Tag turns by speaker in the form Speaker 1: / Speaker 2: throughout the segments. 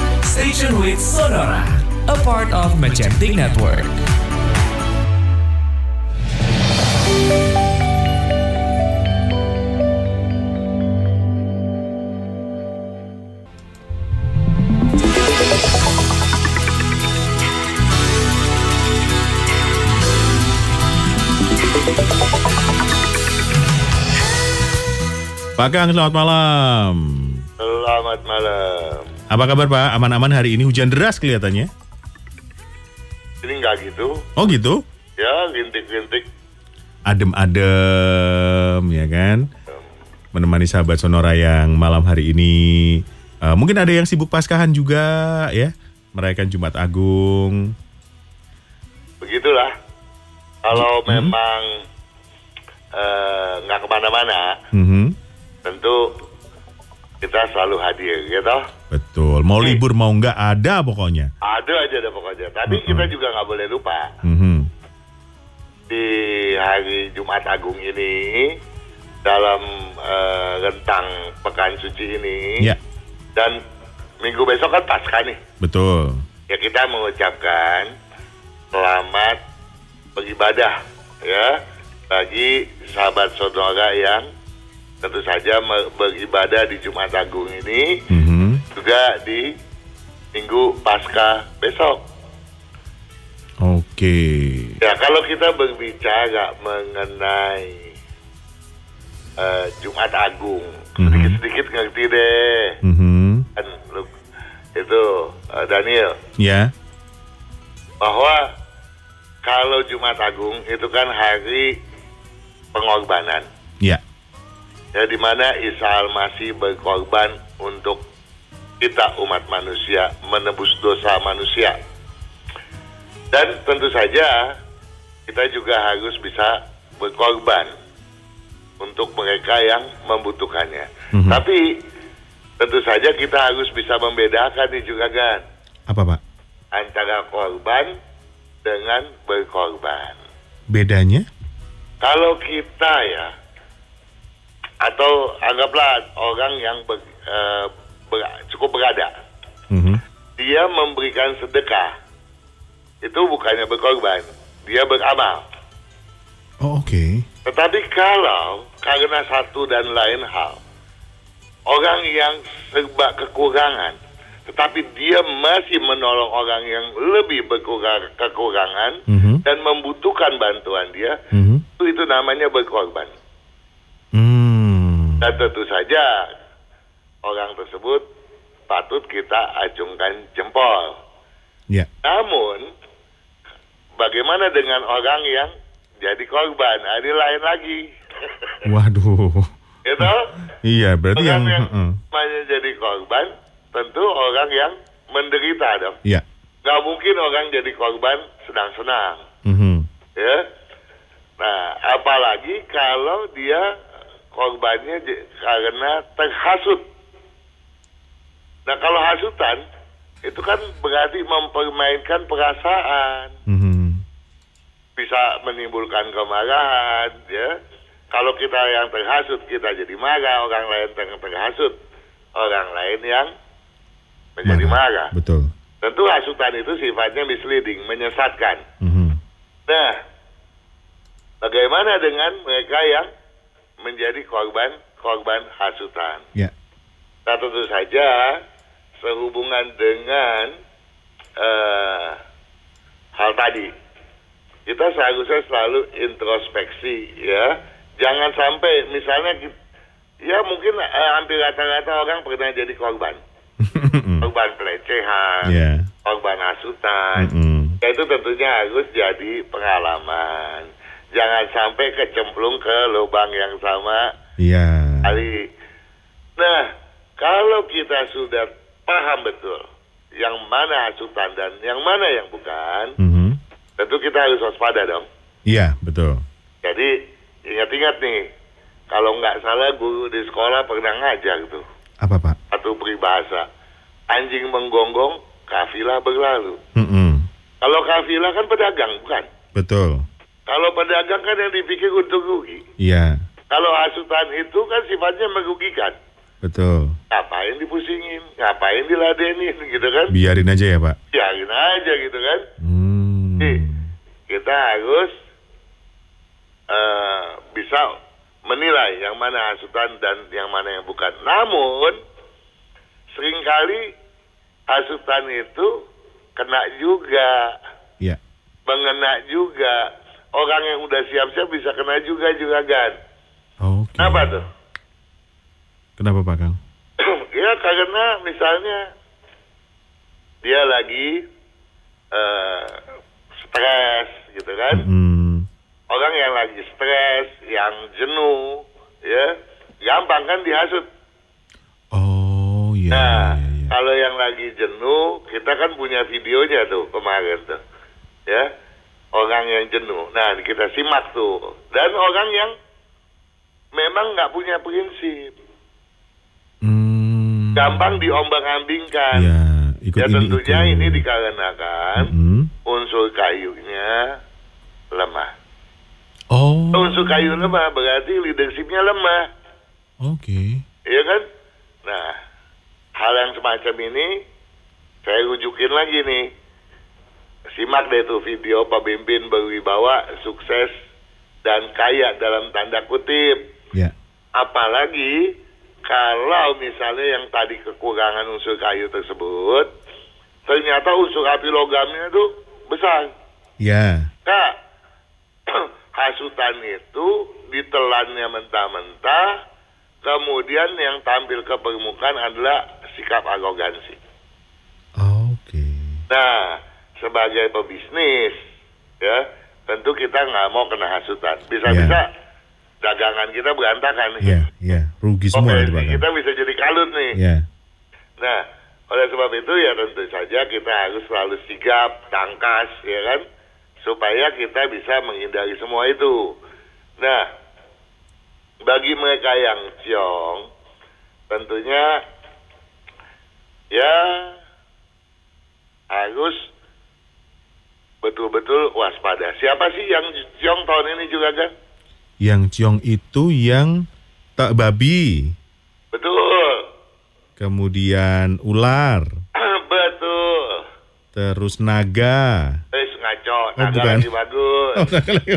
Speaker 1: Conversation with Sonora, a part of Magentic Network.
Speaker 2: Pak Kang, selamat malam.
Speaker 3: Selamat malam.
Speaker 2: Apa kabar Pak? Aman-aman hari ini hujan deras kelihatannya.
Speaker 3: Ini nggak gitu,
Speaker 2: Oh gitu?
Speaker 3: ya gintik-gintik.
Speaker 2: Adem-adem, ya kan? Menemani sahabat Sonora yang malam hari ini. eh, mungkin ada yang sibuk paskahan juga ya. Merayakan Jumat Agung.
Speaker 3: Begitulah. Kalau memang eh, nggak kemana-mana,
Speaker 2: Mhm,
Speaker 3: tentu kita selalu hadir, gitu.
Speaker 2: Betul. Mau libur mau nggak ada pokoknya.
Speaker 3: Ada aja ada pokoknya. Tapi kita juga nggak boleh lupa
Speaker 2: Mhm,
Speaker 3: di hari Jumat Agung ini dalam eh, rentang pekan suci ini
Speaker 2: Ya,
Speaker 3: dan minggu besok kan pasca nih.
Speaker 2: betul.
Speaker 3: ya kita mengucapkan selamat beribadah ya bagi sahabat saudara yang tentu saja me- beribadah di Jumat Agung ini
Speaker 2: Mhm.
Speaker 3: juga di Minggu Pasca besok.
Speaker 2: Oke.
Speaker 3: Ya kalau kita berbicara mengenai eh, Jumat Agung sedikit-sedikit ngerti deh
Speaker 2: Mhm,
Speaker 3: kan lu- itu eh, Daniel.
Speaker 2: Ya.
Speaker 3: bahwa kalau Jumat Agung itu kan hari pengorbanan
Speaker 2: Ya.
Speaker 3: ya di mana Isa Almasih berkorban untuk kita umat manusia menebus dosa manusia dan tentu saja kita juga harus bisa berkorban untuk mereka yang membutuhkannya tapi tentu saja kita harus bisa membedakan nih juga kan
Speaker 2: Apa Pak?
Speaker 3: antara korban dengan berkorban.
Speaker 2: Bedanya?
Speaker 3: Kalau kita ya, atau anggaplah orang yang ber- eh, ber- cukup berada,
Speaker 2: Mhm,
Speaker 3: dia memberikan sedekah, itu bukannya berkorban, dia beramal.
Speaker 2: Oh oke.
Speaker 3: Tetapi kalau karena satu dan lain hal, orang yang serba kekurangan, tetapi dia masih menolong orang yang lebih berkurang, kekurangan
Speaker 2: Mhm.
Speaker 3: dan membutuhkan bantuan dia,
Speaker 2: Mhm.
Speaker 3: itu, itu namanya berkorban.
Speaker 2: Hmm.
Speaker 3: Dan tentu saja orang tersebut patut kita acungkan jempol.
Speaker 2: Ya.
Speaker 3: Namun, bagaimana dengan orang yang jadi korban? Nah, Ini lain lagi. Gitu?
Speaker 2: Waduh.
Speaker 3: Itu
Speaker 2: Iya, berarti
Speaker 3: Orang
Speaker 2: yang
Speaker 3: yang
Speaker 2: heeh.
Speaker 3: semuanya jadi korban, tentu orang yang menderita, dong.
Speaker 2: Iya.
Speaker 3: Nggak mungkin orang jadi korban senang-senang,
Speaker 2: Mhm.
Speaker 3: ya. Nah, apalagi kalau dia korbannya j- karena terhasut. Nah, kalau hasutan, itu kan berarti mempermainkan perasaan.
Speaker 2: Mhm.
Speaker 3: Bisa menimbulkan kemarahan, ya. Kalau kita yang terhasut, kita jadi marah. Orang lain yang terhasut, orang lain yang menjadi marah.
Speaker 2: Betul.
Speaker 3: Tentu hasutan itu sifatnya misleading, menyesatkan.
Speaker 2: Mhm.
Speaker 3: Nah, bagaimana dengan mereka yang menjadi korban korban hasutan?
Speaker 2: Ya.
Speaker 3: Nah, tentu saja sehubungan dengan eh, hal tadi. Kita seharusnya selalu introspeksi ya. Jangan sampai misalnya ki- ya mungkin eh, hampir rata-rata orang pernah jadi korban. Korban pelecehan,
Speaker 2: Iya.
Speaker 3: korban hasutan.
Speaker 2: Mhm.
Speaker 3: Ya, itu tentunya harus jadi pengalaman. Jangan sampai kecemplung ke lubang yang sama
Speaker 2: Iya.
Speaker 3: kali. Nah, kalau kita sudah paham betul yang mana hasutan dan yang mana yang bukan,
Speaker 2: Mhm.
Speaker 3: tentu kita harus waspada dong.
Speaker 2: Iya, betul.
Speaker 3: Jadi ingat-ingat nih, kalau nggak salah guru di sekolah pernah ngajar tuh
Speaker 2: Apa, Pak?
Speaker 3: satu peribahasa, anjing menggonggong, kafilah berlalu.
Speaker 2: Mhm.
Speaker 3: Kalau kafilah kan pedagang, bukan?
Speaker 2: Betul.
Speaker 3: Kalau pedagang kan yang dipikir untuk rugi.
Speaker 2: Iya.
Speaker 3: Kalau hasutan itu kan sifatnya merugikan.
Speaker 2: Betul.
Speaker 3: ngapain dipusingin, ngapain diladenin gitu kan?
Speaker 2: Biarin aja ya Pak.
Speaker 3: Biarin aja gitu kan?
Speaker 2: Hmm.
Speaker 3: Jadi, kita harus eh, bisa menilai yang mana hasutan dan yang mana yang bukan. Namun seringkali hasutan itu kena juga,
Speaker 2: Ya.
Speaker 3: Iya. mengena juga. Orang yang udah siap-siap bisa kena juga juragan.
Speaker 2: Oke.
Speaker 3: Kenapa tuh?
Speaker 2: Kenapa Pak Kang?
Speaker 3: ya karena misalnya dia lagi eh, stres gitu kan.
Speaker 2: Hmm.
Speaker 3: orang yang lagi stres, yang jenuh, ya gampang kan dihasut.
Speaker 2: Oh iya.
Speaker 3: Nah,
Speaker 2: iya, iya.
Speaker 3: kalau yang lagi jenuh, kita kan punya videonya tuh kemarin tuh, ya orang yang jenuh. Nah, kita simak tuh. Dan orang yang memang nggak punya prinsip,
Speaker 2: Hmm.
Speaker 3: gampang diombang-ambingkan.
Speaker 2: Ya, ikut Hmm?
Speaker 3: ya
Speaker 2: ini
Speaker 3: tentunya
Speaker 2: itu.
Speaker 3: ini dikarenakan
Speaker 2: Mm-mm.
Speaker 3: unsur kayunya lemah.
Speaker 2: Oh.
Speaker 3: Unsur kayu lemah berarti leadershipnya lemah.
Speaker 2: Oke.
Speaker 3: Iya kan? Nah, hal yang semacam ini saya rujukin lagi nih. Simak deh tuh video pemimpin berwibawa, sukses, dan kaya dalam tanda kutip.
Speaker 2: Ya.
Speaker 3: Apalagi kalau misalnya yang tadi kekurangan unsur kayu tersebut, ternyata unsur api logamnya tuh besar.
Speaker 2: Ya.
Speaker 3: Kak, hasutan itu ditelannya mentah-mentah, kemudian yang tampil ke permukaan adalah sikap arogansi.
Speaker 2: Oke.
Speaker 3: Nah, sebagai pebisnis, ya tentu kita nggak mau kena hasutan. Bisa-bisa dagangan kita berantakan.
Speaker 2: Ya, ya. Rugi semua nanti
Speaker 3: Operasi
Speaker 2: Pak Kang.
Speaker 3: kita bisa jadi kalut nih.
Speaker 2: Ya.
Speaker 3: Nah, oleh sebab itu ya tentu saja kita harus selalu sigap, tangkas, ya kan? Supaya kita bisa menghindari semua itu. Nah, bagi mereka yang ciong, tentunya ya harus betul-betul waspada. Siapa sih yang ciong tahun ini juga kan?
Speaker 2: Yang ciong itu yang tak babi,
Speaker 3: Betul,
Speaker 2: kemudian ular,
Speaker 3: betul.
Speaker 2: terus naga.
Speaker 3: Eh, ngaco,
Speaker 2: Oh,
Speaker 3: naga
Speaker 2: bukan.
Speaker 3: lagi bagus.
Speaker 2: Oh, naga lagi.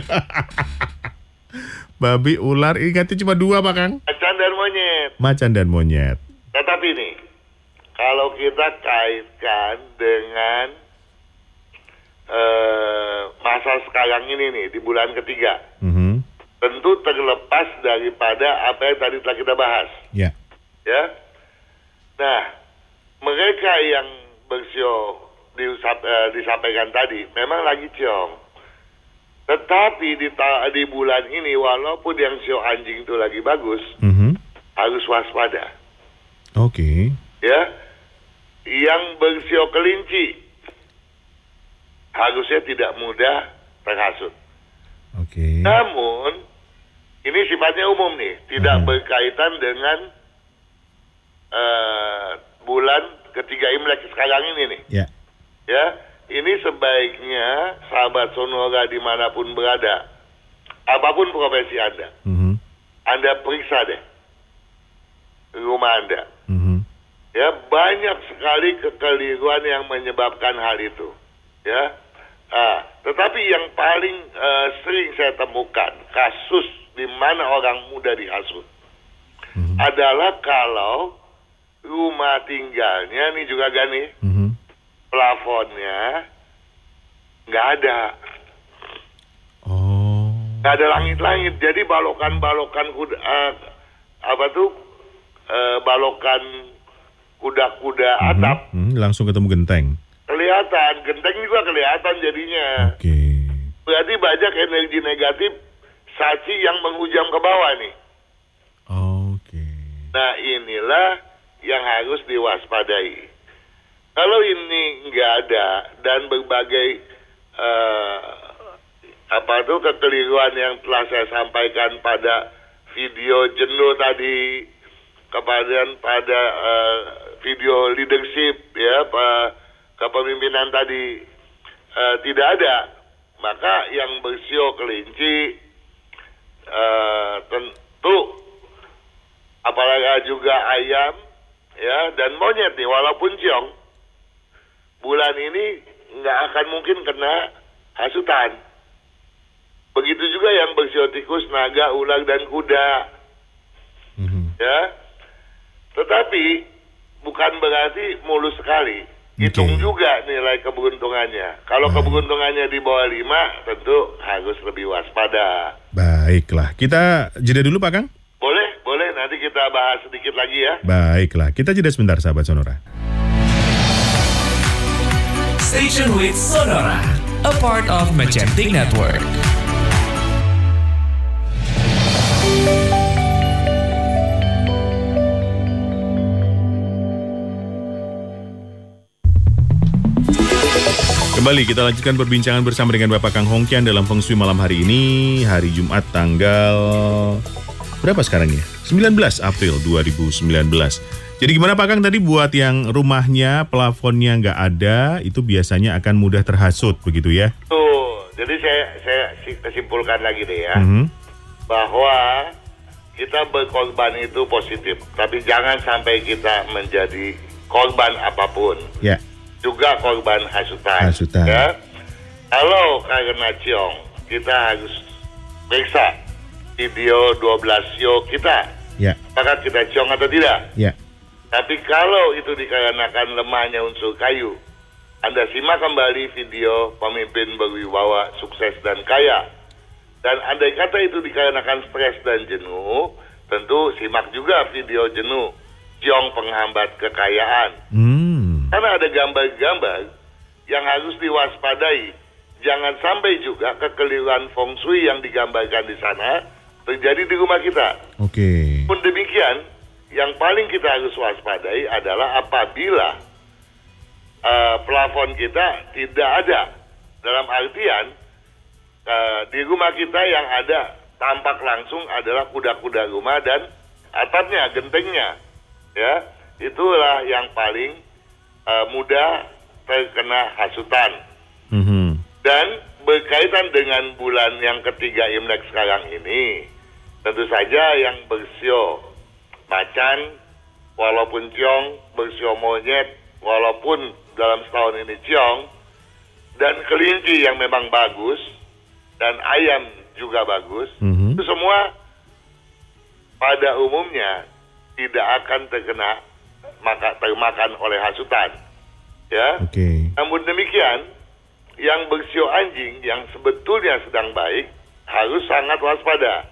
Speaker 2: babi, ular, ini katanya cuma dua Pak Kang.
Speaker 3: Macan dan monyet.
Speaker 2: Macan dan monyet.
Speaker 3: Tetapi nih, Nah, kalau kita kaitkan dengan eh, masa sekarang ini nih di bulan ketiga,
Speaker 2: Mhm.
Speaker 3: tentu terlepas daripada apa yang tadi telah kita bahas,
Speaker 2: Ya.
Speaker 3: ya. Nah, mereka yang bersio diusap- eh, disampaikan tadi memang lagi ciong. Tetapi di, ta- di bulan ini walaupun yang sio anjing itu lagi bagus,
Speaker 2: Mhm.
Speaker 3: harus waspada.
Speaker 2: Oke.
Speaker 3: ya yang bersio kelinci harusnya tidak mudah terhasut.
Speaker 2: Oke.
Speaker 3: Ya. Namun ini sifatnya umum nih, tidak
Speaker 2: Mhm.
Speaker 3: berkaitan dengan eh, bulan ketiga Imlek sekarang ini nih.
Speaker 2: Ya.
Speaker 3: Ya, ini sebaiknya sahabat sonora dimanapun berada, apapun profesi anda,
Speaker 2: Mhm.
Speaker 3: anda periksa deh rumah anda.
Speaker 2: Mhm.
Speaker 3: ya banyak sekali kekeliruan yang menyebabkan hal itu ya Ah, tetapi yang paling eh, sering saya temukan kasus di mana orang muda dihasut
Speaker 2: Mhm.
Speaker 3: adalah kalau rumah tinggalnya nih juga gak nih
Speaker 2: Mhm.
Speaker 3: plafonnya nggak ada
Speaker 2: Oh.
Speaker 3: nggak ada langit-langit jadi balokan-balokan kuda eh, apa tuh eh, balokan kuda-kuda
Speaker 2: Mhm.
Speaker 3: atap
Speaker 2: Mhm, Langsung ketemu genteng.
Speaker 3: Kelihatan, genteng juga kelihatan jadinya.
Speaker 2: Oke.
Speaker 3: Berarti banyak energi negatif saci yang menghujam ke bawah nih.
Speaker 2: Oke.
Speaker 3: Nah inilah yang harus diwaspadai. Kalau ini nggak ada dan berbagai eh, apa tuh kekeliruan yang telah saya sampaikan pada video jenuh tadi, kemudian pada eh, video leadership ya pa- kepemimpinan tadi eh, tidak ada, maka yang bersio kelinci eh, tentu apalagi juga ayam ya dan monyet nih walaupun ciong bulan ini nggak akan mungkin kena hasutan. Begitu juga yang bersio tikus, naga, ular dan kuda.
Speaker 2: Mhm.
Speaker 3: ya. Tetapi bukan berarti mulus sekali.
Speaker 2: Oke.
Speaker 3: Hitung juga nilai keberuntungannya. Kalau keberuntungannya di bawah 5 tentu harus lebih waspada.
Speaker 2: Baiklah, kita jeda dulu Pak Kang.
Speaker 3: Boleh, boleh nanti kita bahas sedikit lagi ya.
Speaker 2: Baiklah, kita jeda sebentar sahabat Sonora.
Speaker 1: Station with Sonora, a part of Magentic Network.
Speaker 2: Kembali kita lanjutkan perbincangan bersama dengan Bapak Kang Hongkian dalam Feng Shui malam hari ini, hari Jumat tanggal berapa sekarang ya? 19 April 2019. Jadi gimana Pak Kang tadi buat yang rumahnya plafonnya nggak ada, itu biasanya akan mudah terhasut begitu ya?
Speaker 3: Tuh, jadi saya saya si- kesimpulkan lagi deh ya.
Speaker 2: Mhm.
Speaker 3: bahwa kita berkorban itu positif, tapi jangan sampai kita menjadi korban apapun,
Speaker 2: Ya,
Speaker 3: juga korban hasutan.
Speaker 2: Hasutan.
Speaker 3: Ya. Kalau karena ciong, kita harus periksa video 12 sio kita,
Speaker 2: ya,
Speaker 3: apakah kita ciong atau tidak.
Speaker 2: ya.
Speaker 3: Tapi kalau itu dikarenakan lemahnya unsur kayu, Anda simak kembali video pemimpin berwibawa sukses dan kaya. Dan andai kata itu dikarenakan stres dan jenuh, tentu simak juga video jenuh, ciong penghambat kekayaan.
Speaker 2: Hmm,
Speaker 3: Karena ada gambar-gambar yang harus diwaspadai. Jangan sampai juga kekeliruan feng shui yang digambarkan di sana terjadi di rumah kita.
Speaker 2: oke.
Speaker 3: Pun demikian, yang paling kita harus waspadai adalah apabila eh, plafon kita tidak ada. Dalam artian, eh, di rumah kita yang ada tampak langsung adalah kuda-kuda rumah dan atapnya, gentengnya. Ya, itulah yang paling eh, mudah terkena hasutan.
Speaker 2: Mhm.
Speaker 3: Dan berkaitan dengan bulan yang ketiga Imlek sekarang ini, tentu saja yang bersio macan, walaupun ciong, bersio monyet, walaupun dalam setahun ini ciong, dan kelinci yang memang bagus, dan ayam juga bagus,
Speaker 2: Mhm.
Speaker 3: itu semua pada umumnya tidak akan terkena maka termakan oleh hasutan. Ya.
Speaker 2: Oke.
Speaker 3: Namun demikian, yang bersio anjing yang sebetulnya sedang baik harus sangat waspada,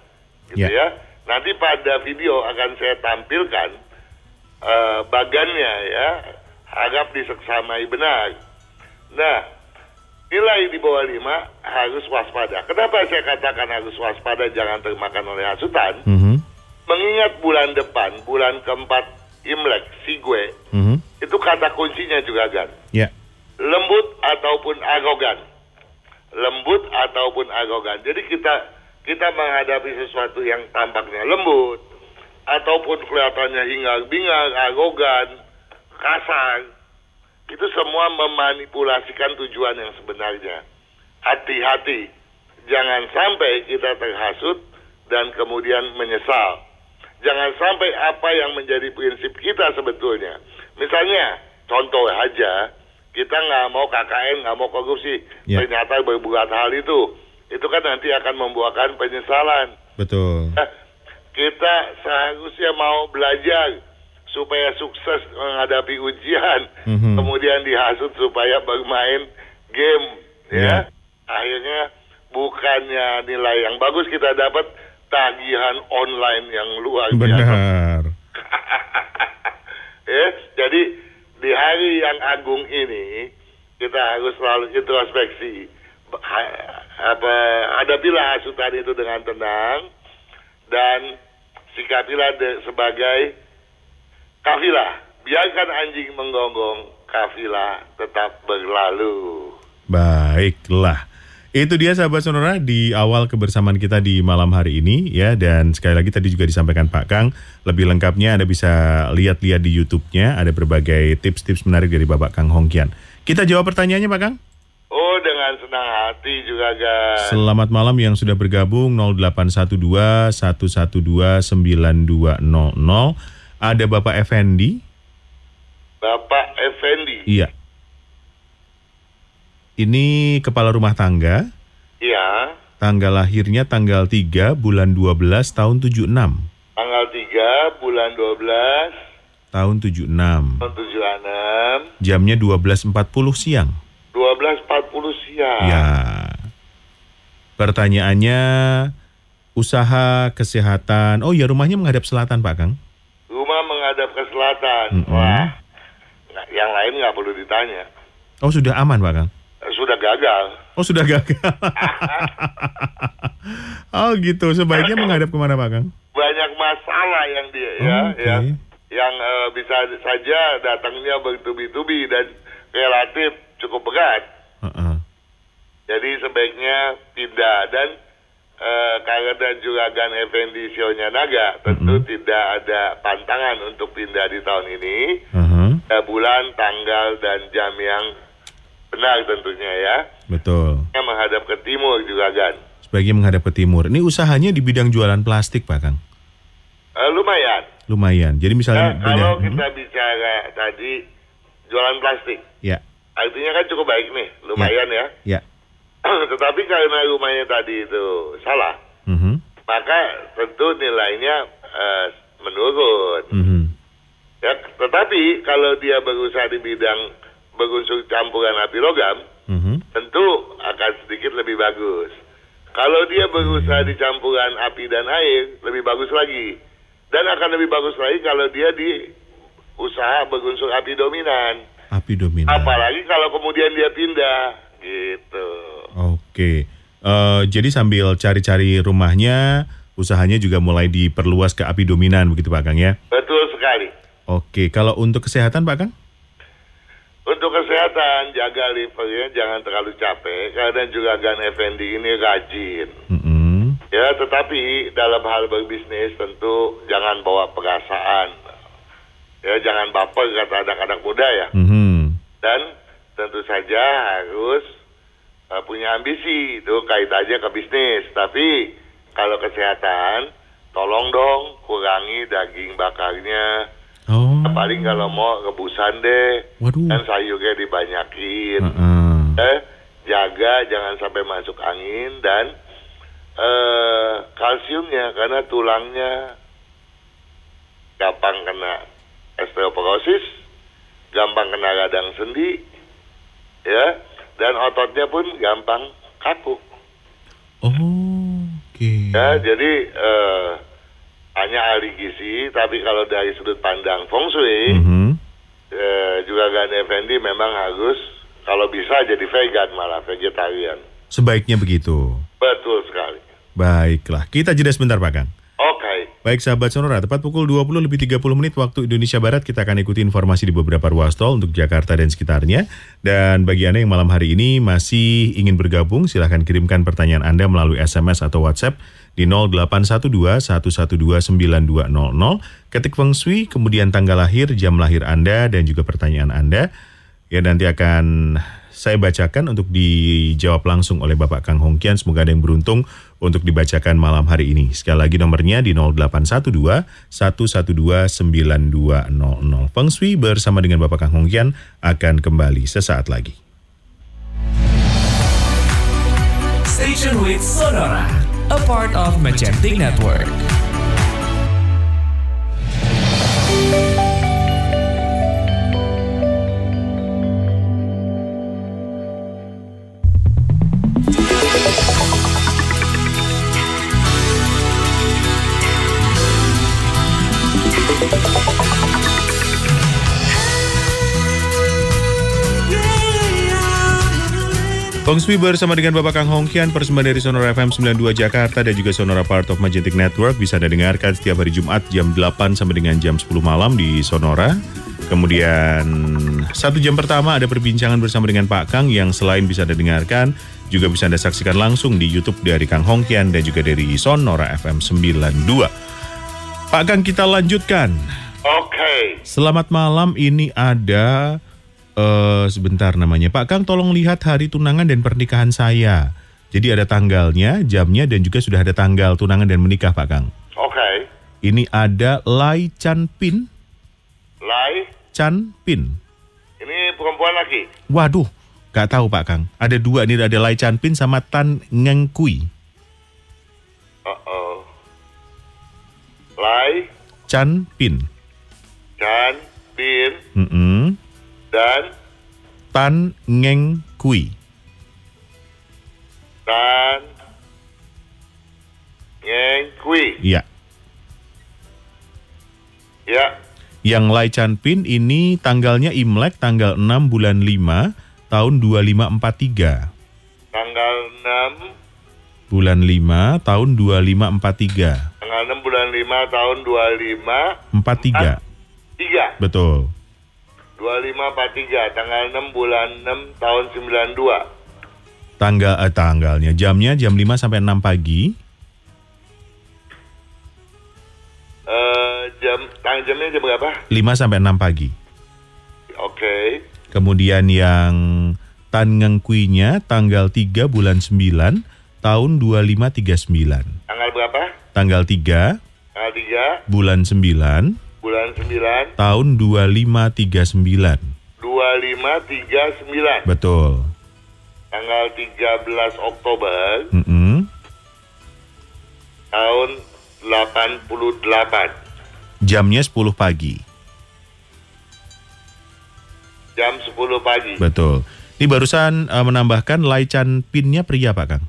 Speaker 3: gitu
Speaker 2: Ya.
Speaker 3: ya. Nanti pada video akan saya tampilkan eh, bagannya ya, harap diseksamai benar. Nah, nilai di bawah 5 harus waspada. Kenapa saya katakan harus waspada jangan termakan oleh hasutan?
Speaker 2: Mhm.
Speaker 3: Mengingat bulan depan, bulan keempat Imlek, Sigwe,
Speaker 2: Mhm.
Speaker 3: itu kata kuncinya juga kan
Speaker 2: Ya.
Speaker 3: lembut ataupun arogan lembut ataupun arogan jadi kita kita menghadapi sesuatu yang tampaknya lembut ataupun kelihatannya hingar bingar arogan kasar itu semua memanipulasikan tujuan yang sebenarnya hati-hati jangan sampai kita terhasut dan kemudian menyesal jangan sampai apa yang menjadi prinsip kita sebetulnya. Misalnya, contoh aja, kita nggak mau KKN, nggak mau korupsi,
Speaker 2: Ya.
Speaker 3: ternyata berbuat hal itu, itu kan nanti akan membuahkan penyesalan.
Speaker 2: Betul.
Speaker 3: Nah, kita seharusnya mau belajar supaya sukses menghadapi ujian,
Speaker 2: Mhm.
Speaker 3: kemudian dihasut supaya bermain game,
Speaker 2: Ya.
Speaker 3: ya. Akhirnya bukannya nilai yang bagus kita dapat tagihan online yang luar biasa.
Speaker 2: Benar.
Speaker 3: ya, jadi di hari yang agung ini kita harus selalu introspeksi. Ha- Apa hadapilah hasutan itu dengan tenang dan sikapilah de- sebagai kafilah. Biarkan anjing menggonggong, kafilah tetap berlalu.
Speaker 2: Baiklah. Itu dia sahabat sonora di awal kebersamaan kita di malam hari ini ya dan sekali lagi tadi juga disampaikan Pak Kang lebih lengkapnya Anda bisa lihat-lihat di YouTube-nya ada berbagai tips-tips menarik dari Bapak Kang Hongkian. Kita jawab pertanyaannya Pak Kang.
Speaker 3: Oh, dengan senang hati juga, guys.
Speaker 2: Selamat malam yang sudah bergabung 0812 112 9200. Ada Bapak Effendi
Speaker 3: Bapak Effendi.
Speaker 2: Iya. Ini kepala rumah tangga,
Speaker 3: Iya,
Speaker 2: tanggal lahirnya tanggal 3 bulan 12 tahun 76.
Speaker 3: tanggal 3 bulan 12
Speaker 2: Tahun 76.
Speaker 3: tahun 76,
Speaker 2: Jamnya 12.40 siang.
Speaker 3: 12.40 siang.
Speaker 2: Ya. Pertanyaannya usaha kesehatan. Oh ya rumahnya menghadap selatan, Pak Kang.
Speaker 3: Rumah menghadap ke selatan.
Speaker 2: Mm-mm.
Speaker 3: Wah, nggak- yang lain nggak perlu ditanya. Eh,
Speaker 2: Oh, sudah aman, Pak Kang.
Speaker 3: Sudah gagal.
Speaker 2: Oh, sudah gagal. oh, gitu. Sebaiknya menghadap kemana, Pak Kang?
Speaker 3: Banyak masalah yang dia ya,
Speaker 2: Oh, Oke.
Speaker 3: ya. yang eh, bisa saja datangnya bertubi-tubi dan relatif cukup berat.
Speaker 2: Heeh.
Speaker 3: Jadi sebaiknya pindah dan eh, karena dan juragan Effendi Sionya Naga tentu tidak ada pantangan untuk pindah di tahun ini.
Speaker 2: Heeh.
Speaker 3: Eh, bulan, tanggal dan jam yang benar tentunya ya.
Speaker 2: Betul.
Speaker 3: Yang menghadap ke timur juragan.
Speaker 2: Sebaiknya menghadap ke timur. Ini usahanya di bidang jualan plastik, Pak Kang.
Speaker 3: Eh, lumayan.
Speaker 2: Lumayan. Jadi
Speaker 3: Eh,
Speaker 2: misalnya
Speaker 3: kalau
Speaker 2: punya-
Speaker 3: kita bicara tadi jualan plastik,
Speaker 2: Ya,
Speaker 3: artinya kan cukup baik nih, lumayan ya.
Speaker 2: ya.
Speaker 3: Tetapi karena rumahnya tadi itu salah,
Speaker 2: Mhm.
Speaker 3: maka tentu nilainya eh, menurun.
Speaker 2: Mhm.
Speaker 3: Ya, tetapi kalau dia berusaha di bidang berunsur campuran api logam,
Speaker 2: Mhm.
Speaker 3: tentu akan sedikit lebih bagus. Kalau dia berusaha di campuran api dan air, lebih bagus lagi. Dan akan lebih bagus lagi kalau dia di usaha berunsur api dominan.
Speaker 2: Api dominan.
Speaker 3: Apalagi kalau kemudian dia pindah, gitu.
Speaker 2: Oke. Eh, jadi sambil cari-cari rumahnya, usahanya juga mulai diperluas ke api dominan begitu Pak Kang ya.
Speaker 3: Betul sekali.
Speaker 2: Oke, kalau untuk kesehatan Pak Kang?
Speaker 3: Untuk kesehatan, jaga livernya jangan terlalu capek, karena juga Gan Effendi ini rajin.
Speaker 2: Mm-mm.
Speaker 3: Ya, tetapi dalam hal berbisnis tentu jangan bawa perasaan. Ya, jangan baper kata anak-anak muda ya.
Speaker 2: Mhm.
Speaker 3: Dan tentu saja harus eh, punya ambisi. Itu kaitannya ke bisnis. Tapi kalau kesehatan, tolong dong kurangi daging bakarnya.
Speaker 2: Oh.
Speaker 3: Paling kalau mau rebusan deh.
Speaker 2: Waduh.
Speaker 3: Dan sayurnya dibanyakin.
Speaker 2: Heeh.
Speaker 3: Eh, jaga jangan sampai masuk angin dan eh, kalsiumnya karena tulangnya gampang kena osteoporosis, gampang kena radang sendi, ya, dan ototnya pun gampang kaku.
Speaker 2: Oke.
Speaker 3: Ya, jadi eh, hanya ahli gizi, tapi kalau dari sudut pandang feng shui,
Speaker 2: Mhm.
Speaker 3: eh, juga Gan Effendi memang harus kalau bisa jadi vegan malah vegetarian.
Speaker 2: Sebaiknya begitu.
Speaker 3: Betul sekali.
Speaker 2: Baiklah, kita jeda sebentar Pak Kang.
Speaker 3: Oke,
Speaker 2: Baik sahabat Sonora, tepat pukul 20 lebih 30 menit waktu Indonesia Barat kita akan ikuti informasi di beberapa ruas tol untuk Jakarta dan sekitarnya. Dan bagi Anda yang malam hari ini masih ingin bergabung, silahkan kirimkan pertanyaan Anda melalui SMS atau WhatsApp di 0812-112-9200. Ketik Feng Shui, kemudian tanggal lahir, jam lahir Anda, dan juga pertanyaan Anda. Ya nanti akan saya bacakan untuk dijawab langsung oleh Bapak Kang Hongkian. Semoga ada yang beruntung untuk dibacakan malam hari ini. Sekali lagi nomornya di 0812 112 9200. Feng Shui bersama dengan Bapak Kang Hongkian akan kembali sesaat lagi.
Speaker 1: Station with Sonora, a part of Magentic Network.
Speaker 2: Feng Shui bersama dengan Bapak Kang Hongkian, persembahan dari Sonora FM 92 Jakarta dan juga Sonora Part of Magentic Network bisa Anda dengarkan setiap hari Jumat jam 8 sampai dengan jam 10 malam di Sonora. Kemudian satu jam pertama ada perbincangan bersama dengan Pak Kang yang selain bisa Anda dengarkan, juga bisa Anda saksikan langsung di Youtube dari Kang Hongkian dan juga dari Sonora FM 92. Pak Kang kita lanjutkan.
Speaker 3: oke.
Speaker 2: Selamat malam, ini ada eh sebentar namanya. Pak Kang tolong lihat hari tunangan dan pernikahan saya. Jadi ada tanggalnya, jamnya dan juga sudah ada tanggal tunangan dan menikah Pak Kang.
Speaker 3: Oke.
Speaker 2: Ini ada Lai Chan Pin,
Speaker 3: Lai
Speaker 2: Chan Pin.
Speaker 3: Ini perempuan lagi.
Speaker 2: Waduh, gak tahu Pak Kang. Ada dua ini ada Lai Chan Pin sama Tan Ngeng Kui.
Speaker 3: Oh oh. Lai,
Speaker 2: Chan Pin.
Speaker 3: Chan, Pin,
Speaker 2: Mm-mm.
Speaker 3: dan
Speaker 2: Tan Ngeng Kui.
Speaker 3: Tan Ngeng Kui.
Speaker 2: Iya.
Speaker 3: Ya,
Speaker 2: Yang Lai Chan Pin ini tanggalnya Imlek tanggal 6 bulan 5 tahun 2543.
Speaker 3: tanggal 6
Speaker 2: Bulan 5 tahun 2543.
Speaker 3: tanggal 6 bulan 5 tahun
Speaker 2: 43.
Speaker 3: 25 3
Speaker 2: Betul.
Speaker 3: 25 43 tanggal 6 bulan 6 tahun 92
Speaker 2: Tanggal eh, tanggalnya jamnya jam 5 sampai 6 pagi.
Speaker 3: eh jam tang jamnya jam berapa?
Speaker 2: 5 sampai 6 pagi.
Speaker 3: Oke.
Speaker 2: Kemudian yang Tan Ngeng Kui-nya tanggal 3 bulan 9 tahun 2539.
Speaker 3: Tanggal berapa?
Speaker 2: Tanggal 3
Speaker 3: Tanggal
Speaker 2: bulan 9
Speaker 3: 3 bulan 9
Speaker 2: tahun 2539.
Speaker 3: 2539
Speaker 2: Betul.
Speaker 3: tanggal 13 Oktober
Speaker 2: Mm-mm.
Speaker 3: tahun 88
Speaker 2: Jamnya 10 pagi.
Speaker 3: jam 10 pagi.
Speaker 2: Betul. Ini barusan eh, menambahkan Lai Chan Pin-nya pria Pak Kang.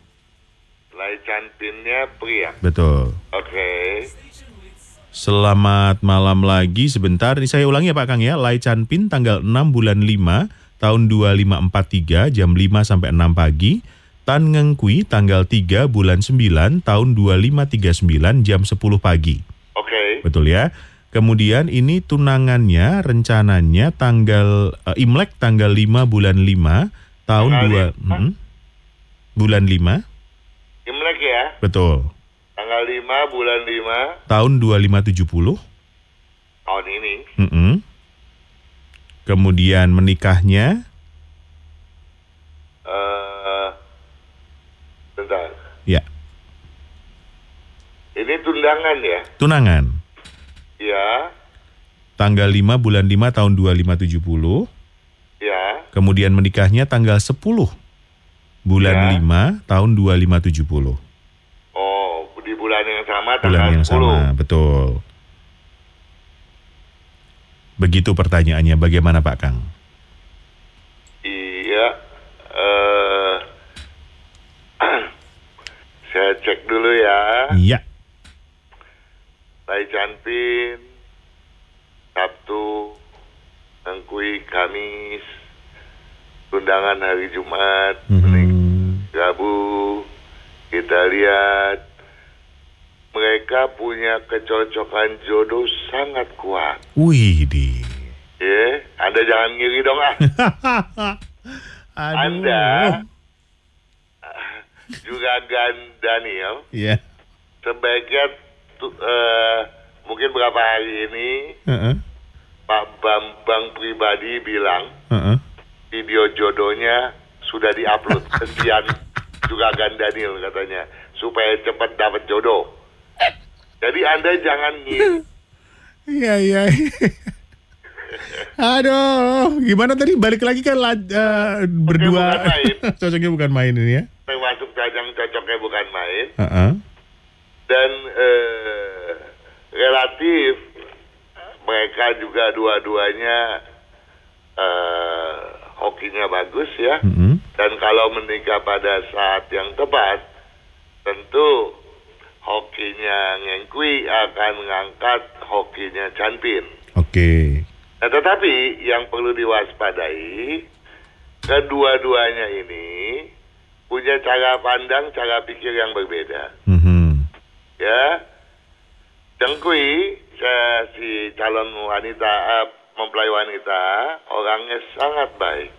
Speaker 3: Lai cantinnya pria.
Speaker 2: Betul.
Speaker 3: Oke.
Speaker 2: Selamat malam lagi sebentar. Ini saya ulangi ya Pak Kang ya. Lai Chan Pin tanggal 6 bulan 5 tahun 2543 jam 5 sampai 6 pagi. Tan Ngeng Kui tanggal 3 bulan 9 tahun 2539 jam 10 pagi.
Speaker 3: Oke.
Speaker 2: Betul ya. Kemudian ini tunangannya rencananya tanggal eh, Imlek tanggal 5 bulan 5 tahun
Speaker 3: Tanggal
Speaker 2: 2 bulan 5.
Speaker 3: Imlek ya.
Speaker 2: Betul.
Speaker 3: Tanggal 5 bulan 5
Speaker 2: Tahun 2570.
Speaker 3: tahun ini.
Speaker 2: Mm-mm. Kemudian menikahnya,
Speaker 3: eh bentar.
Speaker 2: ya
Speaker 3: Ini tundangan ya.
Speaker 2: tunangan.
Speaker 3: Ya.
Speaker 2: Tanggal 5 bulan 5 tahun 2570.
Speaker 3: Ya.
Speaker 2: Kemudian menikahnya tanggal 10 bulan
Speaker 3: Ya.
Speaker 2: 5 tahun 2570.
Speaker 3: Oh, di bulan yang sama
Speaker 2: Bulan
Speaker 3: tanggal
Speaker 2: yang
Speaker 3: 10.
Speaker 2: sama, betul. Begitu pertanyaannya, bagaimana Pak Kang?
Speaker 3: Iya. eh saya cek dulu ya.
Speaker 2: Iya,
Speaker 3: Lai Canpin, Sabtu, Nengkui, Kamis, tundangan hari Jumat,
Speaker 2: Mhm.
Speaker 3: Rabu, kita lihat mereka punya kecocokan jodoh sangat kuat.
Speaker 2: wih di.
Speaker 3: Ya, Anda jangan ngiri dong ah. Anda juragan Daniel
Speaker 2: Iya.
Speaker 3: sebaiknya tu- eh, mungkin berapa hari ini
Speaker 2: Heeh,
Speaker 3: Pak Bambang pribadi bilang
Speaker 2: heeh.
Speaker 3: video jodohnya sudah diupload kesian juga Daniel katanya supaya cepat dapat jodoh. Jadi anda jangan ngiri.
Speaker 2: Iya iya. Aduh, gimana tadi balik lagi kan la- eh, berdua
Speaker 3: bukan main.
Speaker 2: cocoknya bukan main ini ya.
Speaker 3: termasuk cadang cocoknya bukan main
Speaker 2: Heeh.
Speaker 3: dan eh, relatif mereka juga dua-duanya eh, hokinya bagus ya.
Speaker 2: Mm-mm.
Speaker 3: Dan kalau menikah pada saat yang tepat, tentu hokinya Ngengkui akan mengangkat hokinya Chanpin.
Speaker 2: Oke.
Speaker 3: Nah, tetapi yang perlu diwaspadai, kedua-duanya ini punya cara pandang, cara pikir yang berbeda.
Speaker 2: Mhm.
Speaker 3: Ya, Dengkui, eh, si calon wanita, eh, mempelai wanita, orangnya sangat baik.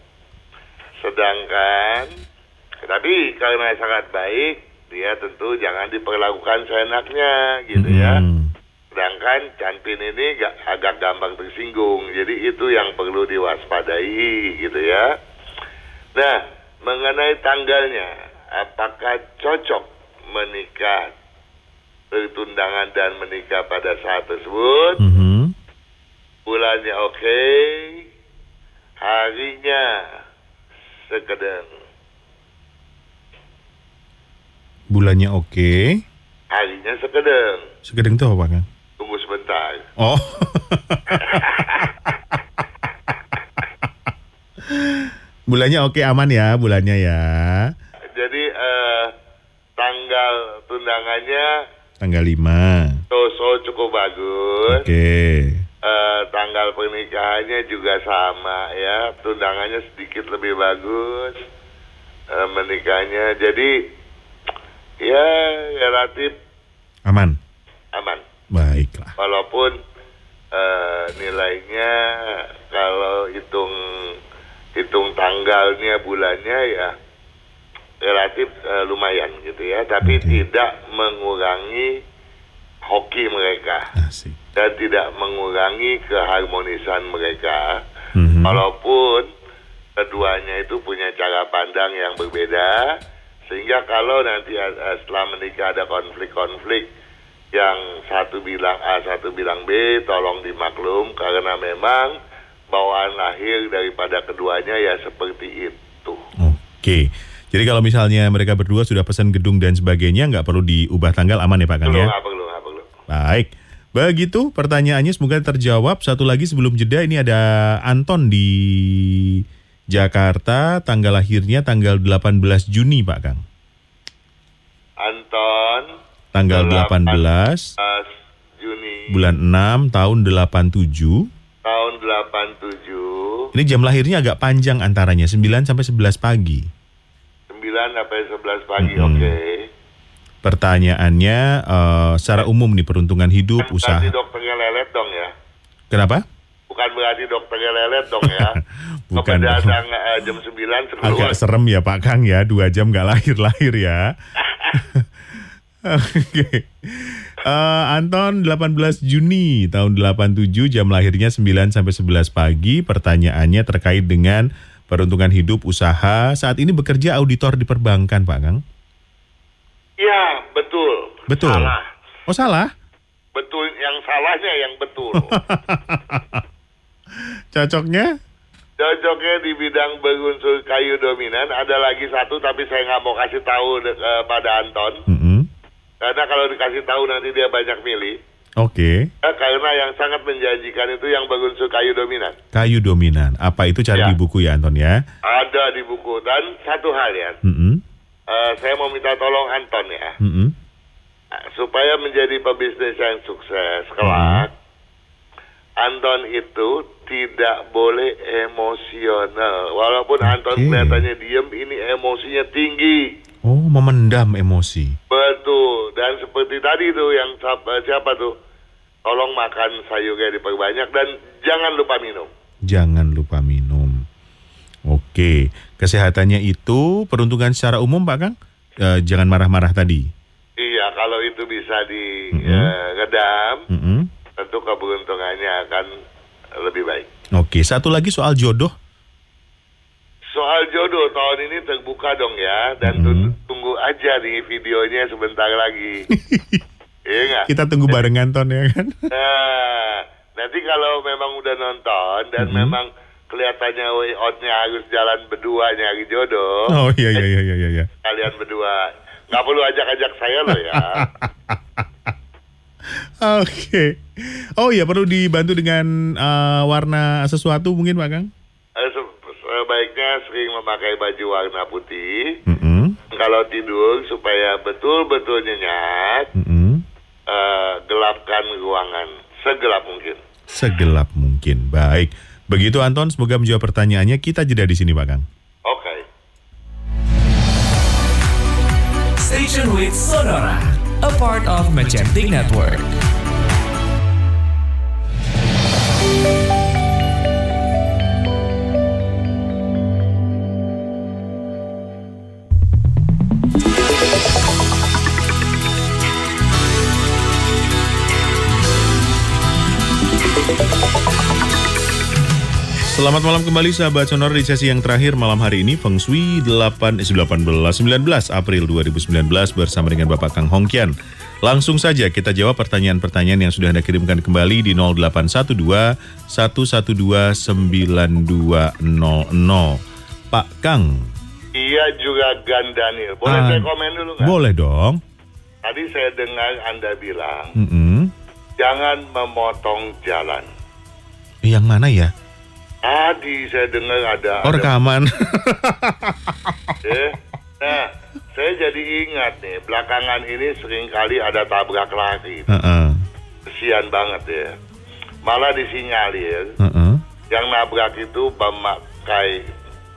Speaker 3: Sedangkan, tapi karena sangat baik, dia tentu jangan diperlakukan seenaknya, gitu ya.
Speaker 2: Mhm.
Speaker 3: Sedangkan Canpin ini ga- agak gampang tersinggung, jadi itu yang perlu diwaspadai gitu ya. Nah, mengenai tanggalnya, apakah cocok menikah bertundangan dan menikah pada saat tersebut?
Speaker 2: Mhm.
Speaker 3: bulannya oke, harinya sekedar.
Speaker 2: Bulannya oke.
Speaker 3: Harinya sekedar.
Speaker 2: Segedeng itu apa, Kang?
Speaker 3: Tunggu sebentar.
Speaker 2: Oh. bulannya oke aman ya, bulannya ya.
Speaker 3: Jadi eh, tanggal tundangannya
Speaker 2: Tanggal 5.
Speaker 3: Toso cukup bagus.
Speaker 2: Oke.
Speaker 3: Eh, tanggal pernikahannya juga sama ya. Tundangannya sedikit lebih bagus. Eh, menikahnya jadi ya relatif
Speaker 2: Aman.
Speaker 3: aman.
Speaker 2: Baiklah.
Speaker 3: Walaupun eh, nilainya kalau hitung hitung tanggalnya bulannya ya relatif eh, lumayan gitu ya. Tapi
Speaker 2: Oke.
Speaker 3: tidak mengurangi hoki mereka.
Speaker 2: Asik.
Speaker 3: dan tidak mengurangi keharmonisan mereka.
Speaker 2: Mhm.
Speaker 3: Walaupun keduanya itu punya cara pandang yang berbeda, sehingga kalau nanti eh, setelah menikah ada konflik-konflik yang satu bilang A, satu bilang B, tolong dimaklum karena memang bawaan lahir daripada keduanya ya seperti itu.
Speaker 2: Oke. Jadi kalau misalnya mereka berdua sudah pesan gedung dan sebagainya, nggak perlu diubah tanggal aman ya Pak Kang
Speaker 3: Perlu
Speaker 2: ya?
Speaker 3: nggak perlu nggak perlu.
Speaker 2: Baik. Begitu pertanyaannya semoga terjawab. Satu lagi sebelum jeda ini ada Anton di Jakarta. Tanggal lahirnya tanggal 18 Juni Pak Kang.
Speaker 3: Anton
Speaker 2: Tanggal 18
Speaker 3: 18 eh, Juni
Speaker 2: bulan 6 tahun 87.
Speaker 3: tahun 87
Speaker 2: Ini jam lahirnya agak panjang antaranya 9 sampai 11 pagi.
Speaker 3: 9 sampai 11 pagi,
Speaker 2: Mm-mm.
Speaker 3: oke.
Speaker 2: Pertanyaannya eh, secara umum nih peruntungan hidup, usaha.
Speaker 3: Berarti dokternya lelet dong ya.
Speaker 2: Kenapa?
Speaker 3: Bukan berarti dokternya lelet dong ya.
Speaker 2: Bukan.
Speaker 3: Kepada tang- eh, jam 9 sebelum
Speaker 2: Agak serem ya Pak Kang ya, dua jam nggak lahir-lahir ya. Oke. Eh, Anton 18 Juni tahun 87 jam lahirnya 9 sampai 11 pagi. Pertanyaannya terkait dengan peruntungan hidup usaha. Saat ini bekerja auditor di perbankan, Pak Kang.
Speaker 3: Iya, betul.
Speaker 2: Betul.
Speaker 3: Salah.
Speaker 2: Oh, salah.
Speaker 3: Betul, yang salahnya yang betul.
Speaker 2: Cocoknya?
Speaker 3: Cocoknya di bidang berunsur kayu dominan, ada lagi satu tapi saya nggak mau kasih tahu de- eh, pada Anton.
Speaker 2: Mm-mm.
Speaker 3: Karena kalau dikasih tahu nanti dia banyak milih.
Speaker 2: Oke.
Speaker 3: Eh, karena yang sangat menjanjikan itu yang berunsur kayu dominan.
Speaker 2: Kayu dominan. Apa itu cari
Speaker 3: Ya.
Speaker 2: di buku ya, Anton ya?
Speaker 3: Ada di buku. Dan satu hal ya,
Speaker 2: Mm-mm.
Speaker 3: Eh, saya mau minta tolong Anton ya,
Speaker 2: Mm-mm.
Speaker 3: supaya menjadi pebisnis yang sukses kelak. Anton itu tidak boleh emosional. Walaupun Anton
Speaker 2: Oke.
Speaker 3: kelihatannya diem, ini emosinya tinggi.
Speaker 2: Oh, memendam emosi.
Speaker 3: Betul. Dan seperti tadi tuh yang siapa, siapa tuh, tolong makan sayurnya diperbanyak dan jangan lupa minum.
Speaker 2: jangan lupa minum. Oke, kesehatannya itu peruntungan secara umum Pak Kang, Eh, jangan marah-marah tadi.
Speaker 3: Iya, kalau itu bisa di
Speaker 2: Mhm.
Speaker 3: eh, redam,
Speaker 2: Mm-mm.
Speaker 3: tentu keberuntungannya akan lebih baik.
Speaker 2: Oke, satu lagi soal jodoh.
Speaker 3: Soal jodoh tahun ini terbuka dong ya dan
Speaker 2: Mhm.
Speaker 3: tun- tunggu aja nih videonya sebentar lagi. Iya nggak?
Speaker 2: Kita tunggu barengan ton ya kan.
Speaker 3: Nah, nanti kalau memang udah nonton dan
Speaker 2: Mhm.
Speaker 3: memang kelihatannya way out-nya harus jalan berdua nyari jodoh.
Speaker 2: Oh iya iya iya iya iya, iya.
Speaker 3: Kalian berdua nggak perlu ajak-ajak saya loh ya.
Speaker 2: Oke. Oh iya perlu dibantu dengan eh, warna sesuatu mungkin Pak Kang.
Speaker 3: Eh, se- Sebaiknya sering memakai baju warna putih.
Speaker 2: Mm-mm.
Speaker 3: Kalau tidur supaya betul-betul nyenyak,
Speaker 2: Mm-mm.
Speaker 3: eh, gelapkan ruangan segelap mungkin.
Speaker 2: Segelap mungkin. Baik. Begitu Anton, semoga menjawab pertanyaannya. Kita jeda di sini Pak Kang.
Speaker 3: Oke.
Speaker 1: Station with Sonora, a part of Magentic Network.
Speaker 2: Selamat malam kembali sahabat sonora di sesi yang terakhir malam hari ini Feng Shui 8 eh, 18 19 April 2019 bersama dengan Bapak Kang Hongkian. Langsung saja kita jawab pertanyaan-pertanyaan yang sudah Anda kirimkan kembali di 0812 112 9200. Pak Kang,
Speaker 3: Iya juga Gan Daniel. Boleh
Speaker 2: Ah,
Speaker 3: saya komen dulu nggak?
Speaker 2: boleh dong?
Speaker 3: Tadi saya dengar Anda bilang,
Speaker 2: Mm-mm.
Speaker 3: jangan memotong jalan.
Speaker 2: Yang mana ya?
Speaker 3: Tadi saya dengar ada...
Speaker 2: Oh
Speaker 3: ada-
Speaker 2: rekaman.
Speaker 3: eh. Nah, saya jadi ingat nih, belakangan ini seringkali ada tabrak lari.
Speaker 2: Heeh,
Speaker 3: Kesian banget ya. Malah disinyalir,
Speaker 2: heeh.
Speaker 3: yang nabrak itu memakai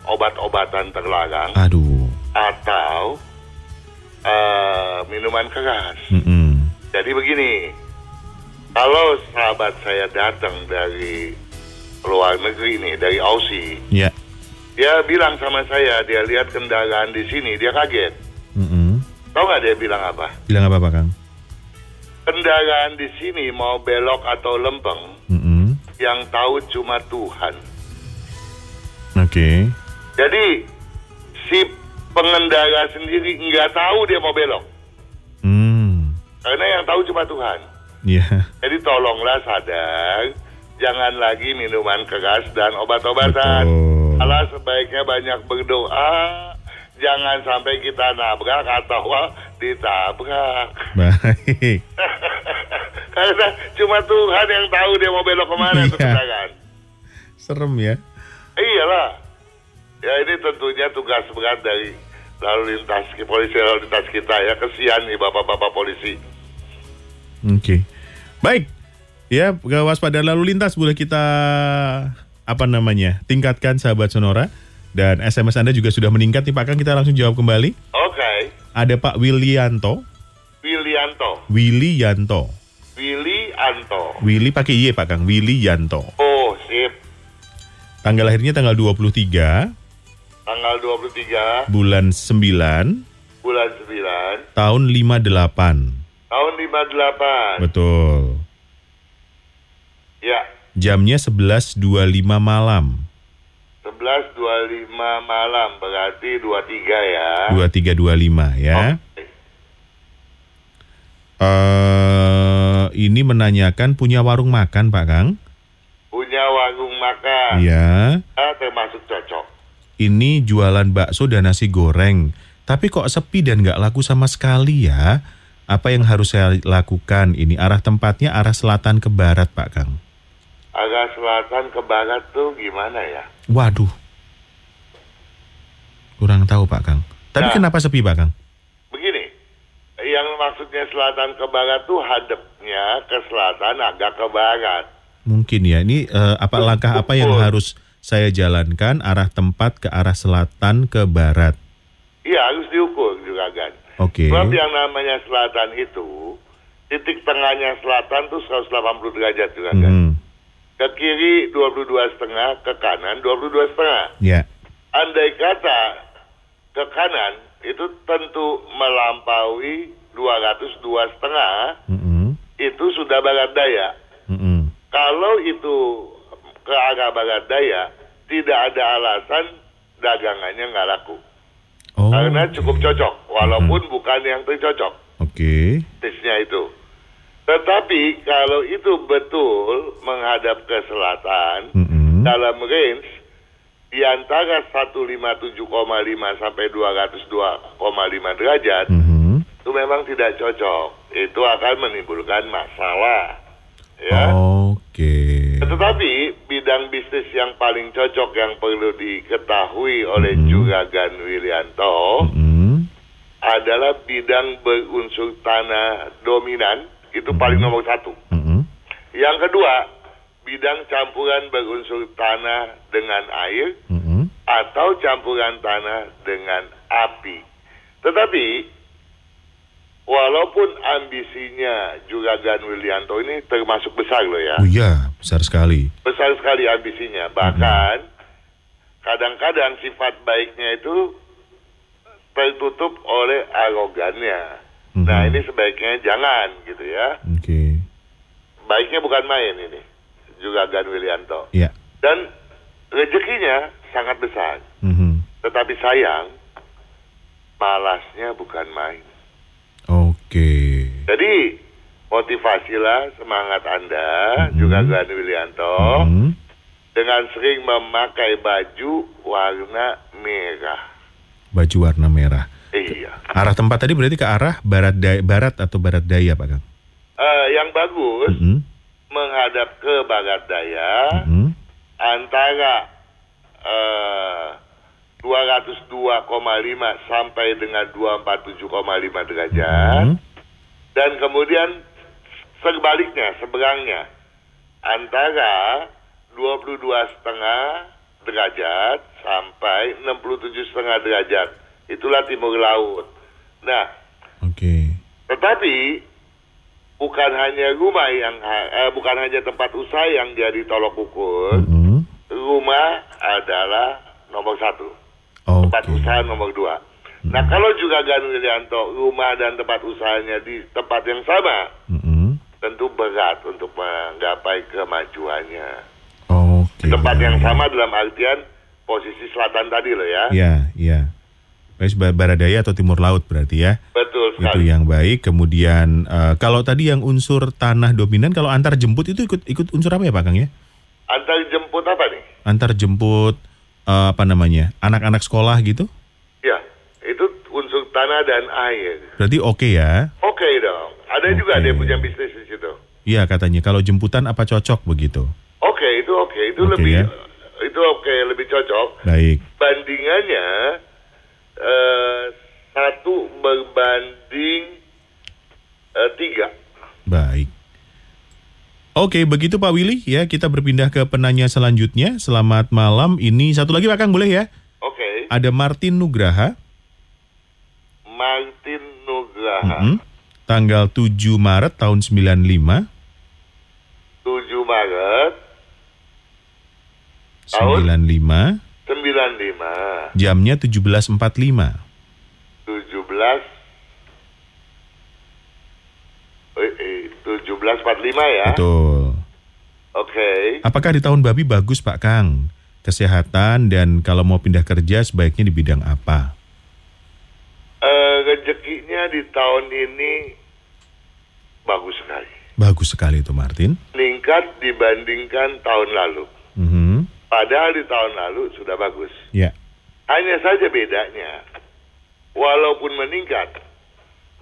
Speaker 3: obat-obatan terlarang
Speaker 2: Aduh.
Speaker 3: atau eh, minuman keras.
Speaker 2: Mm-mm.
Speaker 3: Jadi begini, kalau sahabat saya datang dari luar negeri nih, dari Aussie,
Speaker 2: Ya.
Speaker 3: dia bilang sama saya, dia lihat kendaraan di sini, dia kaget.
Speaker 2: Mm-mm.
Speaker 3: Tahu nggak dia bilang apa?
Speaker 2: Bilang apa Pak Kang?
Speaker 3: Kendaraan di sini mau belok atau lempeng,
Speaker 2: Mm-mm.
Speaker 3: yang tahu cuma Tuhan.
Speaker 2: Oke.
Speaker 3: Jadi si pengendara sendiri nggak tahu dia mau belok,
Speaker 2: Hmm.
Speaker 3: karena yang tahu cuma Tuhan.
Speaker 2: Iya.
Speaker 3: Jadi tolonglah sadar, jangan lagi minuman keras dan obat-obatan.
Speaker 2: Betul.
Speaker 3: Alah sebaiknya banyak berdoa, jangan sampai kita nabrak atau wah, ditabrak.
Speaker 2: Baik.
Speaker 3: Karena cuma Tuhan yang tahu dia mau belok kemana
Speaker 2: Iya.
Speaker 3: tuh kendaraan.
Speaker 2: Serem ya.
Speaker 3: Iyalah. Ya ini tentunya tugas berat dari lalu lintas polisi lalu lintas kita ya kesian nih bapak-bapak polisi.
Speaker 2: Oke. Baik. Ya, kewaspadaan lalu lintas boleh kita apa namanya? Tingkatkan sahabat Sonora dan SMS Anda juga sudah meningkat nih Pak Kang. Kita langsung jawab kembali.
Speaker 3: Oke,
Speaker 2: Ada Pak Willianto,
Speaker 3: Willianto,
Speaker 2: Willy Yanto.
Speaker 3: Willy Anto.
Speaker 2: Willy pakai Y Pak Kang, Willy Yanto.
Speaker 3: Oh, sip.
Speaker 2: Tanggal lahirnya tanggal 23
Speaker 3: Tanggal 23
Speaker 2: bulan 9
Speaker 3: bulan 9
Speaker 2: tahun 58.
Speaker 3: tahun 58.
Speaker 2: Betul.
Speaker 3: Ya,
Speaker 2: Jamnya 11.25 malam.
Speaker 3: 11.25 malam berarti 23 ya.
Speaker 2: 2325 ya.
Speaker 3: Oke.
Speaker 2: eh ini menanyakan punya warung makan Pak Kang?
Speaker 3: Punya warung makan.
Speaker 2: Iya.
Speaker 3: Ah, termasuk cocok.
Speaker 2: Ini jualan bakso dan nasi goreng. Tapi kok sepi dan nggak laku sama sekali ya? Apa yang harus saya lakukan? Ini arah tempatnya arah selatan ke barat Pak Kang.
Speaker 3: Agak selatan ke barat tuh gimana ya?
Speaker 2: Waduh. Kurang tahu Pak Kang. Tapi
Speaker 3: Nah.
Speaker 2: kenapa sepi Pak Kang?
Speaker 3: Begini, yang maksudnya selatan ke barat tuh hadapnya ke selatan agak ke barat.
Speaker 2: Mungkin ya. Ini eh, apa langkah apa yang harus saya jalankan arah tempat ke arah selatan ke barat?
Speaker 3: Iya harus diukur juga kan.
Speaker 2: Oke.
Speaker 3: Sebab yang namanya selatan itu titik tengahnya selatan tuh 180 derajat juga kan.
Speaker 2: Hmm.
Speaker 3: Ke kiri 22 setengah, ke kanan 22 setengah.
Speaker 2: Ya.
Speaker 3: Andai kata ke kanan itu tentu melampaui 202 setengah
Speaker 2: Mm-mm.
Speaker 3: itu sudah barat daya.
Speaker 2: Mm-mm.
Speaker 3: Kalau itu ke arah barat daya tidak ada alasan dagangannya nggak laku
Speaker 2: Oh,
Speaker 3: karena
Speaker 2: oke.
Speaker 3: cukup cocok walaupun bukan yang tercocok
Speaker 2: Oke.
Speaker 3: bisnisnya itu. Tetapi kalau itu betul menghadap ke selatan
Speaker 2: Mm-mm.
Speaker 3: dalam range di antara 157,5 sampai 202,5 derajat
Speaker 2: Mhm.
Speaker 3: itu memang tidak cocok. Itu akan menimbulkan masalah. Ya.
Speaker 2: Oh. Oke.
Speaker 3: Tetapi bidang bisnis yang paling cocok yang perlu diketahui oleh Juragan Wilianto
Speaker 2: Hmm. Mm-mm.
Speaker 3: adalah bidang berunsur tanah dominan itu paling nomor satu.
Speaker 2: Mm-mm.
Speaker 3: Yang kedua bidang campuran berunsur tanah dengan air
Speaker 2: Mm-mm.
Speaker 3: atau campuran tanah dengan api. Tetapi walaupun ambisinya Juragan Willianto ini termasuk besar loh ya,
Speaker 2: Oh iya, besar sekali.
Speaker 3: besar sekali ambisinya. Bahkan kadang-kadang sifat baiknya itu tertutup oleh arogannya. Nah
Speaker 2: Mhm.
Speaker 3: ini sebaiknya jangan gitu ya.
Speaker 2: Oke.
Speaker 3: Baiknya bukan main ini. Juga Gan Wilianto.
Speaker 2: Ya.
Speaker 3: Dan rezekinya sangat besar.
Speaker 2: Mhm.
Speaker 3: Tetapi sayang, malasnya bukan main.
Speaker 2: Oke.
Speaker 3: Jadi motivasilah semangat Anda juga Gani Wilianto
Speaker 2: Hmm.
Speaker 3: dengan sering memakai baju warna merah.
Speaker 2: Baju warna merah.
Speaker 3: Iya.
Speaker 2: Arah tempat tadi berarti ke arah barat daya, barat atau barat daya, Pak Kang?
Speaker 3: Eh, yang bagus
Speaker 2: Mhm.
Speaker 3: menghadap ke barat daya
Speaker 2: Mhm.
Speaker 3: antara eh, 202,5 sampai dengan 247,5 derajat.
Speaker 2: Mhm.
Speaker 3: dan kemudian sebaliknya seberangnya antara 22 setengah derajat sampai 67 setengah derajat itulah timur laut. Nah,
Speaker 2: Oke.
Speaker 3: tetapi bukan hanya rumah yang ha- eh, bukan hanya tempat usaha yang jadi tolok ukur,
Speaker 2: Mhm.
Speaker 3: rumah adalah nomor satu tempat
Speaker 2: Oke.
Speaker 3: usaha nomor dua. Nah kalau juga Ganu Wilianto rumah dan tempat usahanya di tempat yang sama,
Speaker 2: Mhm.
Speaker 3: tentu berat untuk menggapai kemajuannya.
Speaker 2: Oke.
Speaker 3: Tempat
Speaker 2: ya,
Speaker 3: yang
Speaker 2: ya.
Speaker 3: sama dalam artian posisi selatan tadi loh ya.
Speaker 2: Ya, ya. Baik, ba- barat daya atau timur laut berarti ya.
Speaker 3: Betul
Speaker 2: Itu
Speaker 3: sekali.
Speaker 2: yang baik. Kemudian eh, kalau tadi yang unsur tanah dominan, kalau antar jemput itu ikut ikut unsur apa ya, Pak Kang ya?
Speaker 3: Antar jemput apa nih?
Speaker 2: Antar jemput eh, apa namanya? Anak-anak sekolah gitu?
Speaker 3: Ya, itu unsur tanah dan air.
Speaker 2: Berarti oke ya.
Speaker 3: Oke dong. Ada juga
Speaker 2: Oke.
Speaker 3: dia punya bisnis di situ.
Speaker 2: Iya katanya kalau jemputan apa cocok begitu.
Speaker 3: Oke, itu oke. Itu
Speaker 2: Oke,
Speaker 3: lebih
Speaker 2: ya.
Speaker 3: itu oke, lebih cocok.
Speaker 2: Baik.
Speaker 3: Bandingannya eh, satu berbanding eh, tiga.
Speaker 2: Baik. Oke, begitu Pak Willy ya, kita berpindah ke penanya selanjutnya. Selamat malam. Ini satu lagi Pak Kang boleh ya?
Speaker 3: Oke.
Speaker 2: Ada Martin Nugraha.
Speaker 3: Martin Nugraha.
Speaker 2: Mm-mm. Tanggal 7 Maret tahun 95.
Speaker 3: 7 Maret
Speaker 2: 95.
Speaker 3: 95
Speaker 2: Jamnya 17.45.
Speaker 3: 17 eh, eh, 1745 ya
Speaker 2: Betul.
Speaker 3: Oke
Speaker 2: Apakah di tahun babi bagus Pak Kang? Kesehatan dan kalau mau pindah kerja sebaiknya di bidang apa?
Speaker 3: Eh, Rezekinya di tahun ini Bagus sekali
Speaker 2: Bagus sekali itu Martin.
Speaker 3: Meningkat dibandingkan tahun lalu
Speaker 2: Mhm.
Speaker 3: Padahal di tahun lalu sudah bagus
Speaker 2: Ya.
Speaker 3: Hanya saja bedanya, walaupun meningkat,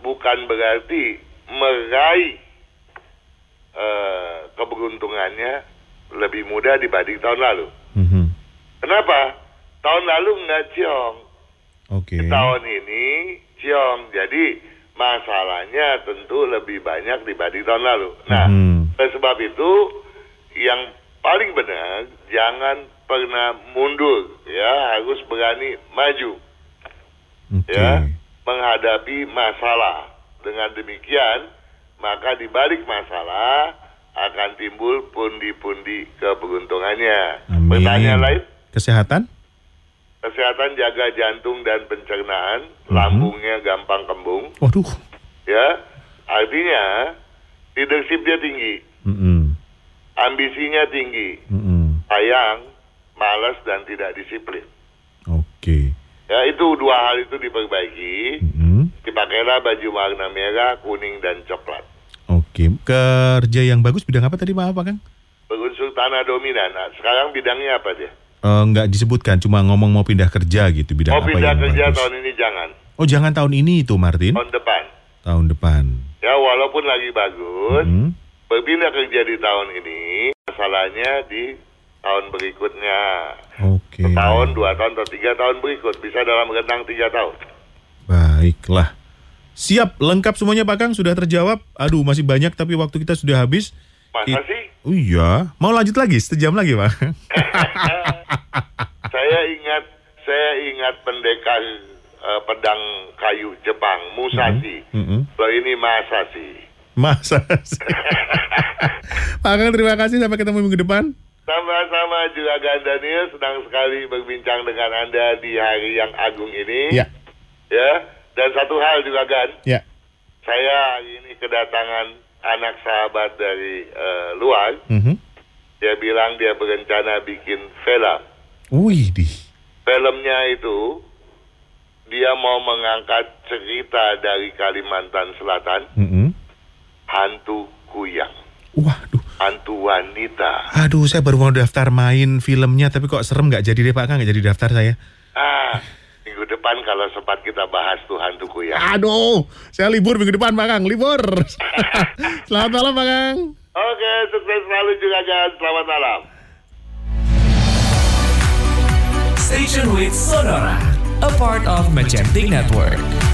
Speaker 3: bukan berarti meraih eh, keberuntungannya lebih mudah dibanding tahun lalu.
Speaker 2: Mhm.
Speaker 3: Kenapa? Tahun lalu nggak ciong,
Speaker 2: Oke.
Speaker 3: tahun ini ciong. Jadi masalahnya tentu lebih banyak dibanding tahun lalu. Nah,
Speaker 2: Mhm.
Speaker 3: oleh sebab itu yang paling benar jangan pernah mundur, ya harus berani maju
Speaker 2: Oke.
Speaker 3: ya menghadapi masalah. Dengan demikian, maka di balik masalah akan timbul pundi-pundi keberuntungannya.
Speaker 2: Amin.
Speaker 3: Pertanyaan lain,
Speaker 2: Kesehatan?
Speaker 3: kesehatan jaga jantung dan pencernaan,
Speaker 2: Mhm.
Speaker 3: lambungnya gampang kembung,
Speaker 2: Waduh.
Speaker 3: ya. Artinya, leadershipnya tinggi,
Speaker 2: Mhm.
Speaker 3: ambisinya tinggi,
Speaker 2: Mhm.
Speaker 3: sayang, malas dan tidak disiplin.
Speaker 2: Oke.
Speaker 3: Ya, itu dua hal itu diperbaiki.
Speaker 2: Mhm.
Speaker 3: Dipakailah baju warna merah, kuning, dan coklat.
Speaker 2: Oke. Kerja yang bagus bidang apa tadi maaf Pak Kang?
Speaker 3: Berunsur tanah dominan. Nah, sekarang bidangnya apa dia?
Speaker 2: Eh, nggak disebutkan, cuma ngomong mau pindah kerja gitu bidang
Speaker 3: Mau
Speaker 2: apa
Speaker 3: pindah
Speaker 2: yang
Speaker 3: kerja
Speaker 2: bagus.
Speaker 3: tahun ini Oh. jangan.
Speaker 2: Oh jangan tahun ini itu Martin.
Speaker 3: Tahun depan.
Speaker 2: Tahun depan.
Speaker 3: Ya walaupun lagi bagus,
Speaker 2: Hmm.
Speaker 3: berpindah kerja di tahun ini, masalahnya di tahun berikutnya.
Speaker 2: Oke.
Speaker 3: Tahun, dua tahun, atau tiga tahun berikut. Bisa dalam rentang tiga tahun.
Speaker 2: Baiklah. Siap, lengkap semuanya Pak Kang sudah terjawab. Aduh, masih banyak tapi waktu kita sudah habis.
Speaker 3: Masa
Speaker 2: It-
Speaker 3: sih?
Speaker 2: Oh iya, mau lanjut lagi sejam lagi, Pak.
Speaker 3: Saya ingat, saya ingat pendekar eh, pedang kayu Jepang, Musashi.
Speaker 2: Mm-mm.
Speaker 3: Kalau ini Masashi.
Speaker 2: Masa sih? Pak Kang terima kasih sampai ketemu minggu depan.
Speaker 3: Sama-sama Juragan Daniel senang sekali berbincang dengan Anda di hari yang agung ini.
Speaker 2: Ya,
Speaker 3: Ya. Dan satu hal Juragan,
Speaker 2: ya.
Speaker 3: saya hari ini kedatangan anak sahabat dari eh, luar.
Speaker 2: Mhm.
Speaker 3: Dia bilang dia berencana bikin film.
Speaker 2: Wih, di.
Speaker 3: Filmnya itu dia mau mengangkat cerita dari Kalimantan Selatan,
Speaker 2: Mm-mm.
Speaker 3: hantu kuyang,
Speaker 2: Waduh.
Speaker 3: hantu wanita.
Speaker 2: Aduh, saya baru mau daftar main filmnya, tapi kok serem nggak jadi deh Pak Kang, nggak jadi daftar saya.
Speaker 3: Ah, minggu depan kalau sempat kita bahas tuh hantu kuyang.
Speaker 2: Aduh, saya libur minggu depan Pak Kang, libur. Selamat malam Pak Kang.
Speaker 3: Oke, sukses selalu juga Jan. Selamat malam.
Speaker 1: Station with Sonora, a part of Magentic Network.